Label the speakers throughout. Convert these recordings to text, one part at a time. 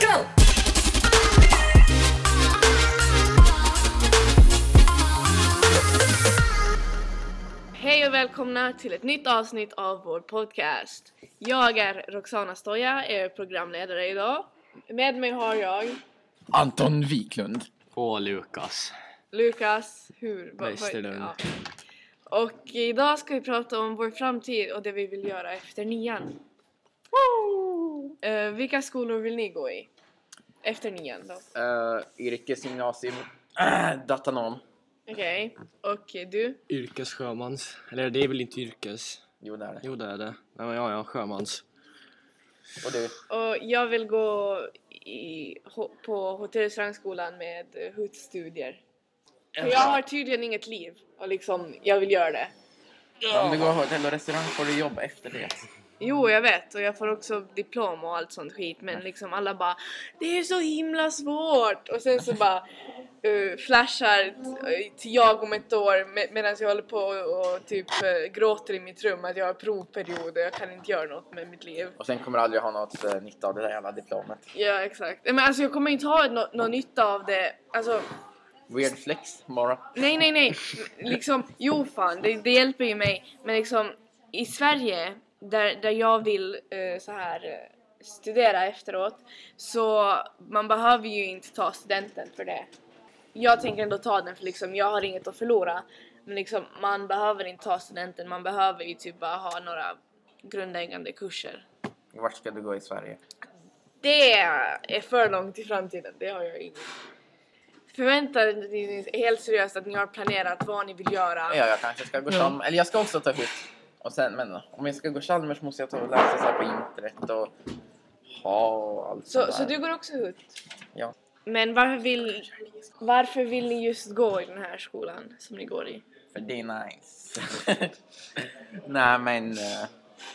Speaker 1: go!
Speaker 2: Hej och välkomna till ett nytt avsnitt av vår podcast. Jag är Roxana Stoja, er programledare idag. Med mig har jag
Speaker 3: Anton Wiklund.
Speaker 4: Åh Lukas.
Speaker 2: Lukas, hur? vad- vad-
Speaker 4: Westerlund.
Speaker 2: Och idag ska vi prata om vår framtid och det vi vill göra efter nian. Eh, vilka skolor vill ni gå i? Efter nian då.
Speaker 3: Eh, yrkesgymnasium. Äh, Datanom.
Speaker 2: Okej, och du?
Speaker 4: Yrkessjömans. Eller det är väl inte yrkes?
Speaker 3: Jo, det är det.
Speaker 4: Jo det är det. Nej men ja, ja, sjömans.
Speaker 3: Och du?
Speaker 2: Och jag vill gå i, ho- på hotell och restaurangskolan med eh, HUT-studier. För jag har tydligen inget liv och liksom, jag vill göra det.
Speaker 3: Om du går hotell och restaurang får du jobb efter det.
Speaker 2: Jo, jag vet och jag får också diplom och allt sånt skit men liksom alla bara Det är så himla svårt! Och sen så bara eh, flashar t- till jag om ett år med, medan jag håller på och, och typ eh, gråter i mitt rum att jag har provperiod och jag kan inte göra något med mitt liv.
Speaker 3: Och sen kommer du aldrig ha något eh, nytta av det där jävla diplomet.
Speaker 2: Ja, exakt. Men alltså jag kommer inte ha nå- någon nytta av det. Alltså
Speaker 3: Weird flex bara.
Speaker 2: Nej, nej, nej. Liksom, jo fan, det, det hjälper ju mig. Men liksom, i Sverige, där, där jag vill eh, så här eh, studera efteråt, så man behöver ju inte ta studenten för det. Jag tänker ändå ta den för liksom, jag har inget att förlora. Men liksom, man behöver inte ta studenten, man behöver ju typ bara ha några grundläggande kurser.
Speaker 3: Vart ska du gå i Sverige?
Speaker 2: Det är för långt i framtiden, det har jag ingen. Förväntar ni er helt seriöst att ni har planerat vad ni vill göra?
Speaker 3: Ja, jag kanske ska gå Chalmers. Eller jag ska också ta hut. Och sen, men om jag ska gå Chalmers måste jag ta och läsa så här på internet och ha och allt
Speaker 2: Så,
Speaker 3: sånt
Speaker 2: så
Speaker 3: där.
Speaker 2: du går också HUT?
Speaker 3: Ja.
Speaker 2: Men varför vill, varför vill ni just gå i den här skolan som ni går i?
Speaker 3: För det är nice. Nej men eh,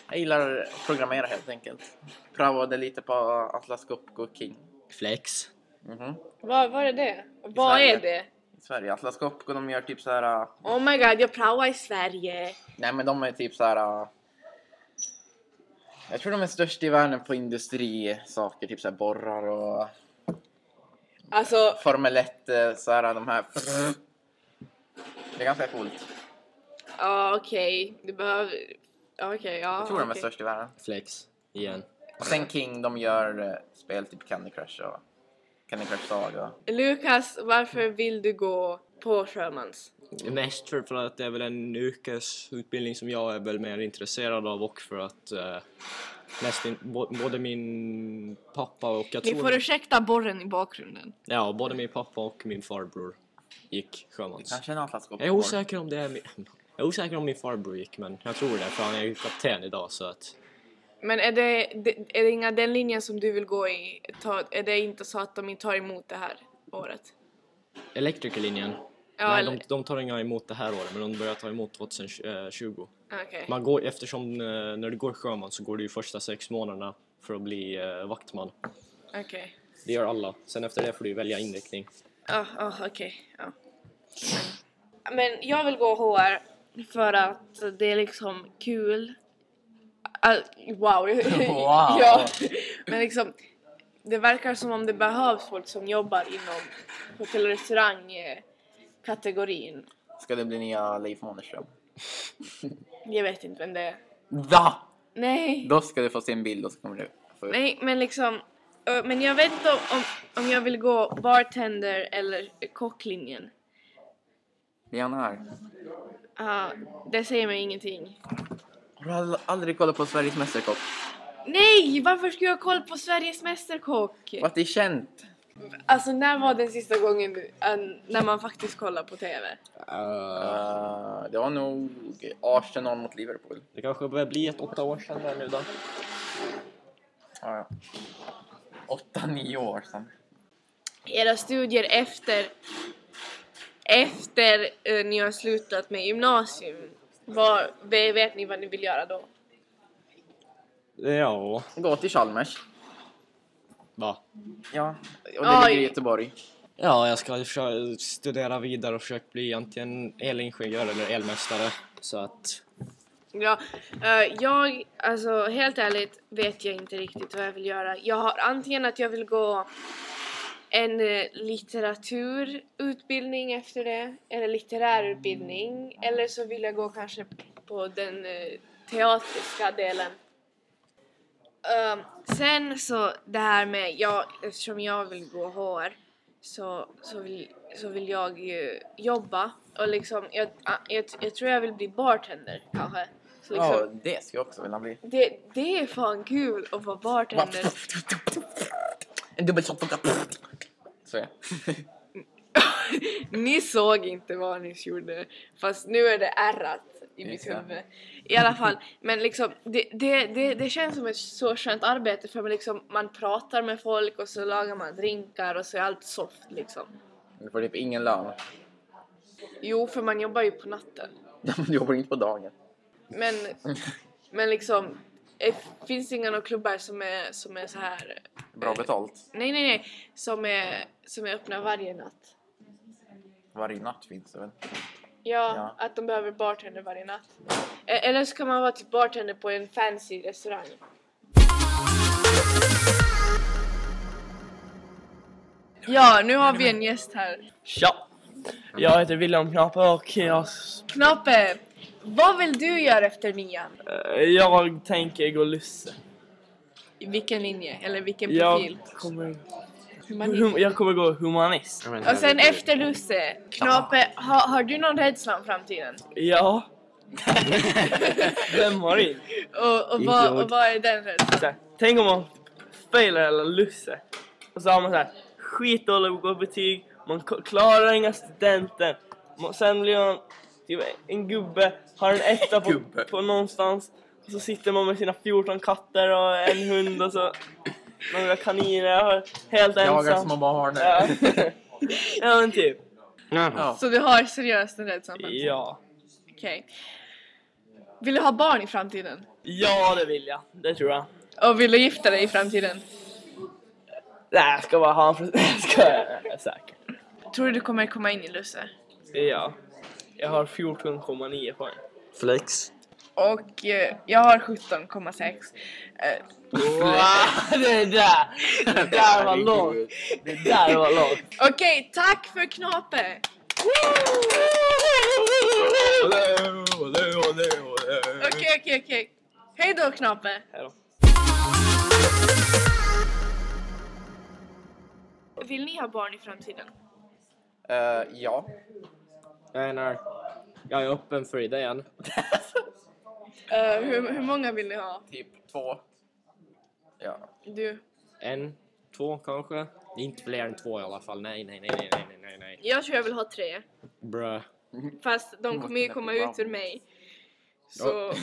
Speaker 3: jag gillar att programmera helt enkelt. Prövade lite på Atlas Copco King.
Speaker 4: Flex.
Speaker 3: Mhm.
Speaker 2: Vad, vad är det? Vad
Speaker 3: Sverige.
Speaker 2: är det?
Speaker 3: I Sverige. Atlas Copco de gör typ så här. eh,
Speaker 2: Oh my god, jag praoar i Sverige!
Speaker 3: nej men de är typ så här. eh, jag tror de är störst i världen på industrisaker, typ så här borrar och
Speaker 2: Alltså,
Speaker 3: Formel 1, eh, så här de här. Det är ganska coolt.
Speaker 2: ja okej, du behöver... ja, Okej, ja.
Speaker 3: Jag tror de är
Speaker 2: Ah, okej.
Speaker 3: störst i världen.
Speaker 4: Flex. Igen.
Speaker 3: Och sen King, de gör eh, spel typ Candy Crush och Candy Crush Saga.
Speaker 2: Lukas, varför vill du gå på Sjömans?
Speaker 4: Mest för, för att det är väl en yrkesutbildning som jag är väl mer intresserad av och för att eh, mest in, bo, både min pappa och jag
Speaker 2: Ni
Speaker 4: tror...
Speaker 2: får ursäkta borren i bakgrunden.
Speaker 4: Ja, både min pappa och min farbror gick sjömans.
Speaker 3: Kanske en Atlas Copco.
Speaker 4: Jag är osäker om det är min... Jag är osäker om min farbror gick men jag tror det för han är ju kapten idag så att...
Speaker 2: Men är det, det- är det inga den linjen som du vill gå i? Ta, är det inte så att de inte tar emot det här året?
Speaker 4: Elektrikerlinjen.
Speaker 2: Ja,
Speaker 4: Nej,
Speaker 2: eller-
Speaker 4: de, de tar inga emot det här året, men de börjar ta emot 2020.
Speaker 2: Okej.
Speaker 4: Man går, eftersom eh, när du går sjöman så går du ju första sex månaderna för att bli eh, vaktman.
Speaker 2: Okej.
Speaker 4: Det gör alla. Sen efter det får du ju välja inriktning.
Speaker 2: Ja, ja, okej. ja. Men jag vill gå HR för att det är liksom kul. All- wow! ja. Men liksom, det verkar som om det behövs folk som jobbar inom hotell och restaurangkategorin.
Speaker 3: Ska det bli nya Leif Månerström?
Speaker 2: Jag vet inte vem det är.
Speaker 3: Va?
Speaker 2: Nej!
Speaker 3: Då ska du få se en bild och så kommer du få upp.
Speaker 2: Nej, men liksom... ö, Men jag vet inte om, om, om jag vill gå bartender eller kocklinjen.
Speaker 3: Det är han här.
Speaker 2: Ja, Ah, det säger mig ingenting.
Speaker 3: Har du all- aldrig kollat på Sveriges Mästerkock?
Speaker 2: Nej, varför ska jag kolla på Sveriges Mästerkock?
Speaker 3: Vad det är känt?
Speaker 2: Alltså när var den sista gången eh, när man faktiskt kollar på TV?
Speaker 3: Eh, det var nog Arsenal mot Liverpool.
Speaker 4: Det kanske börjar bli ett åtta år sedan där nu då.
Speaker 3: Ja, ja. Åtta, nio år sedan.
Speaker 2: Era studier efter efter eh, ni har slutat med gymnasium. Vad, ve- vet ni vad ni vill göra då?
Speaker 4: Ja.
Speaker 3: Gå till Chalmers.
Speaker 4: Va?
Speaker 3: Ja. Och det
Speaker 2: Oj.
Speaker 3: ligger i Göteborg.
Speaker 4: Ja, jag ska försö- studera vidare och försöka bli antingen elingenjör eller elmästare. Så att
Speaker 2: Ja, eh, jag, alltså helt ärligt vet jag inte riktigt vad jag vill göra. Jag har antingen att jag vill gå en eh, litteraturutbildning efter det, eller litterärutbildning, eller så vill jag gå kanske på den eh, teatriska delen. Ehm, sen så det här med, jag, eftersom jag vill gå HR så, så, vill, så vill jag eh, jobba och liksom, jag, jag, jag tror jag vill bli bartender kanske. Så liksom,
Speaker 3: Ja, det ska jag också vilja bli.
Speaker 2: det, det är fan kul att vara bartender.
Speaker 3: En dubbelshot. Så ja.
Speaker 2: ni såg inte vad ni gjorde fast nu är det ärrat i mitt
Speaker 3: Ja.
Speaker 2: huvud. I alla fall, men liksom det, det, det, det känns som ett så skönt arbete för man, liksom, man pratar med folk och så lagar man drinkar och så är allt soft liksom.
Speaker 3: Du får typ ingen lön.
Speaker 2: Jo, för man jobbar ju på natten.
Speaker 3: Du jobbar inte på dagen.
Speaker 2: Men, men liksom, eh, finns det inga några klubbar som är, som är så här
Speaker 3: Bra betalt.
Speaker 2: Nej, nej, nej. Som är, som är öppna varje natt.
Speaker 3: Varje natt finns det väl?
Speaker 2: Ja,
Speaker 3: Ja.
Speaker 2: att de behöver bartender varje natt. E- Eller så kan man vara typ bartender på en fancy restaurang. Ja, nu har vi en gäst här.
Speaker 1: Tja! Jag heter William Knappe och jag,
Speaker 2: Knappe, vad vill du göra efter nian?
Speaker 1: eh, jag tänker gå lusse.
Speaker 2: I Vilken linje? Eller vilken profil?
Speaker 1: Jag kommer,
Speaker 2: Humanist.
Speaker 1: hum, jag kommer gå humanist.
Speaker 2: Och sen efter Lusse, Knape, ha, har du någon rädsla om framtiden?
Speaker 1: Ja. Vem har in?
Speaker 2: Och, och,
Speaker 4: Inte
Speaker 2: vad,
Speaker 4: jag.
Speaker 2: och vad är den rädslan?
Speaker 1: Så här, tänk om man failar eller lusse. Och så har man så här skitdåliga betyg, man k- klarar inga studenter. Man, sen blir man typ en gubbe, har en etta på,
Speaker 3: Gubbe.
Speaker 1: på någonstans. Och så sitter man med sina 14 katter och en hund och så några kaniner. och Helt
Speaker 3: Jagar
Speaker 1: ensam.
Speaker 3: små barn.
Speaker 1: Ja. ja men typ.
Speaker 4: Jaha.
Speaker 2: Så du har seriöst en rädsla om framtiden?
Speaker 1: Ja.
Speaker 2: Okej. Vill du ha barn i framtiden?
Speaker 1: Ja det vill jag. Det tror jag.
Speaker 2: Och vill du gifta dig i framtiden?
Speaker 1: Nej jag ska bara ha en present. Ska jag säkert.
Speaker 2: Tror du du kommer komma in i Lusse?
Speaker 1: Ja. Jag har 14,9 poäng.
Speaker 4: Flex.
Speaker 2: Och eh, jag har 17,6. Eh,
Speaker 1: Wow, det där! Det där var långt! Det där var långt!
Speaker 2: Okej, tack för Knape! Okej, okej, okej. Hej då Knape!
Speaker 1: Här då.
Speaker 2: Vill ni ha barn i framtiden?
Speaker 3: Eh, ja.
Speaker 4: Jag menar, jag är öppen för idén.
Speaker 2: Eh, hur, hur många vill ni ha?
Speaker 3: Typ två. Ja.
Speaker 2: Du?
Speaker 4: En, två kanske. Inte fler än två i alla fall. Nej, nej, nej, nej, nej, nej, nej, nej.
Speaker 2: Jag tror jag vill ha tre.
Speaker 4: Brö.
Speaker 2: Fast de kommer ju komma ut ur mig. Så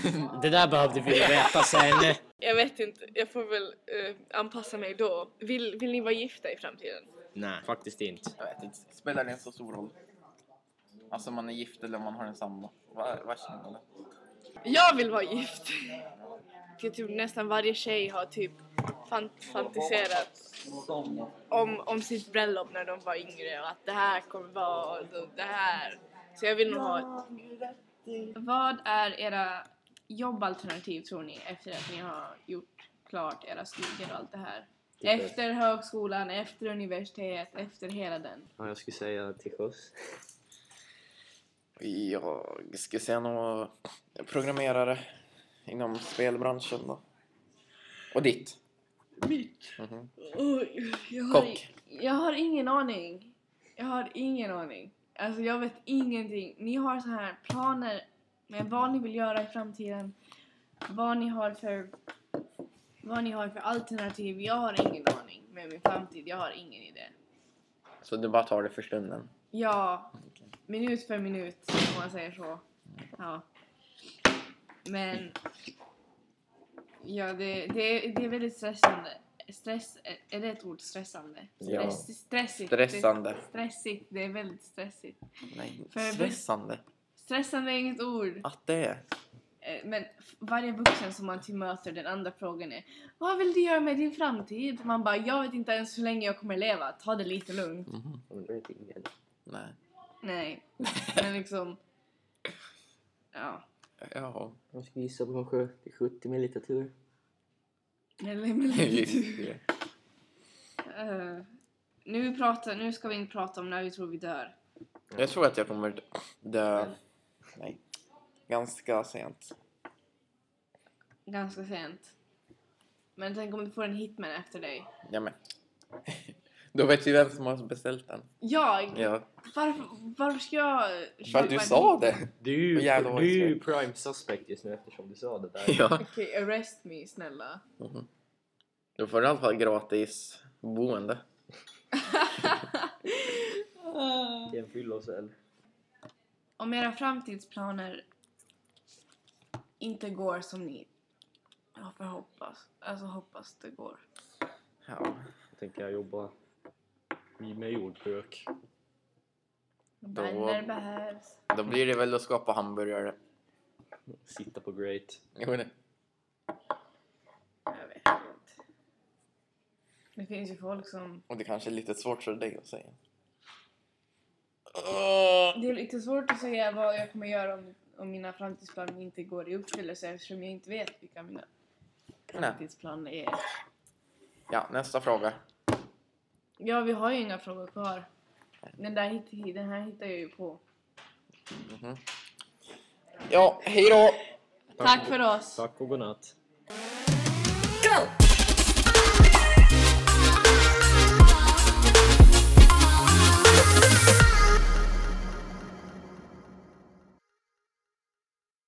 Speaker 4: Det där behövde vi veta sen.
Speaker 2: jag vet inte, jag får väl eh, anpassa mig då. Vill, vill ni vara gifta i framtiden?
Speaker 4: nej, faktiskt inte.
Speaker 3: Jag vet inte. Spelar det en så stor roll? Alltså man är gift eller man har en sambo. Vad vad känner man?
Speaker 2: Jag vill vara gift! Jag tror nästan varje tjej har typ fan- fantiserat om, om sitt bröllop när de var yngre och att det här kommer vara och det här. Så jag vill nog ha... Vad är era jobbalternativ tror ni efter att ni har gjort klart era studier och allt det här? Efter högskolan, efter universitet, efter hela den.
Speaker 4: Ja, jag skulle säga till sjöss.
Speaker 3: Jag skulle säga nog programmerare inom spelbranschen då. Och ditt?
Speaker 2: Oj, jag, har,
Speaker 3: Kock.
Speaker 2: jag har ingen aning. Jag har ingen aning. Alltså jag vet ingenting. Ni har så här planer med vad ni vill göra i framtiden. Vad ni har för vad ni har för alternativ. Jag har ingen aning med min framtid. Jag har ingen idé.
Speaker 3: Så du bara tar det för stunden?
Speaker 2: Ja, minut för minut om man säger så. Ja. Men ja, det, det, är- det är väldigt stressande. Stress, är det ett ord? Stressande?
Speaker 3: Ja.
Speaker 2: Stress, stressigt.
Speaker 3: Stressande.
Speaker 2: Det, stressigt, det är väldigt stressigt.
Speaker 3: Nej,
Speaker 2: För-
Speaker 3: stressande.
Speaker 2: Stressande är inget ord.
Speaker 3: Att det är.
Speaker 2: Eh, Men f- varje vuxen som man till möter, den andra frågan är Vad vill du göra med din framtid? Man bara, jag vet inte ens hur länge jag kommer leva. Ta det lite lugnt.
Speaker 3: Nej.
Speaker 2: Nej, men liksom... Ja.
Speaker 3: Ja.
Speaker 5: Jag skulle gissa på kanske till 70 med lite tur.
Speaker 2: Eller med lite- Eh, nu, pratar, nu ska vi inte prata om när vi tror vi dör.
Speaker 3: jag tror att jag kommer dö... Nej. Ganska sent.
Speaker 2: Ganska sent. Men tänk om du får en hitman efter dig.
Speaker 3: Ja, men. Då vet vi vem som har beställt den.
Speaker 2: Jag?
Speaker 3: Ja.
Speaker 2: Varför, varför ska jag
Speaker 3: För
Speaker 2: köpa
Speaker 3: att du
Speaker 2: en
Speaker 3: sa
Speaker 2: hit-
Speaker 3: det!
Speaker 4: Du,
Speaker 3: Och jävla
Speaker 4: du är ju
Speaker 3: white
Speaker 4: prime suspect just nu eftersom du sa det där.
Speaker 3: Ja.
Speaker 2: Okej, arrest me snälla.
Speaker 3: Då får du i alla fall gratis boende.
Speaker 2: Eh,
Speaker 4: I en fyllocell.
Speaker 2: om era framtidsplaner inte går som ni ja, får hoppas. Alltså hoppas det går.
Speaker 3: Ja.
Speaker 4: Jag tänker jag jobba med jordbruk.
Speaker 3: Då-
Speaker 2: Vänner behövs.
Speaker 3: Då blir det väl att skapa hamburgare.
Speaker 4: Sitta på great.
Speaker 3: Jo, nej.
Speaker 2: Jag vet inte. Det finns ju folk som...
Speaker 3: Och det kanske är lite svårt för dig att säga.
Speaker 2: Det är lite svårt att säga vad jag kommer göra om, om mina framtidsplaner inte går i uppfyllelse eftersom jag inte vet vilka mina framtidsplaner är.
Speaker 3: Ja, nästa fråga.
Speaker 2: Ja, vi har ju inga frågor kvar. Den, där, hitt- den här hittar jag ju på.
Speaker 3: Ja, hej då!
Speaker 2: Tack för oss!
Speaker 4: Tack och godnatt.
Speaker 2: Go!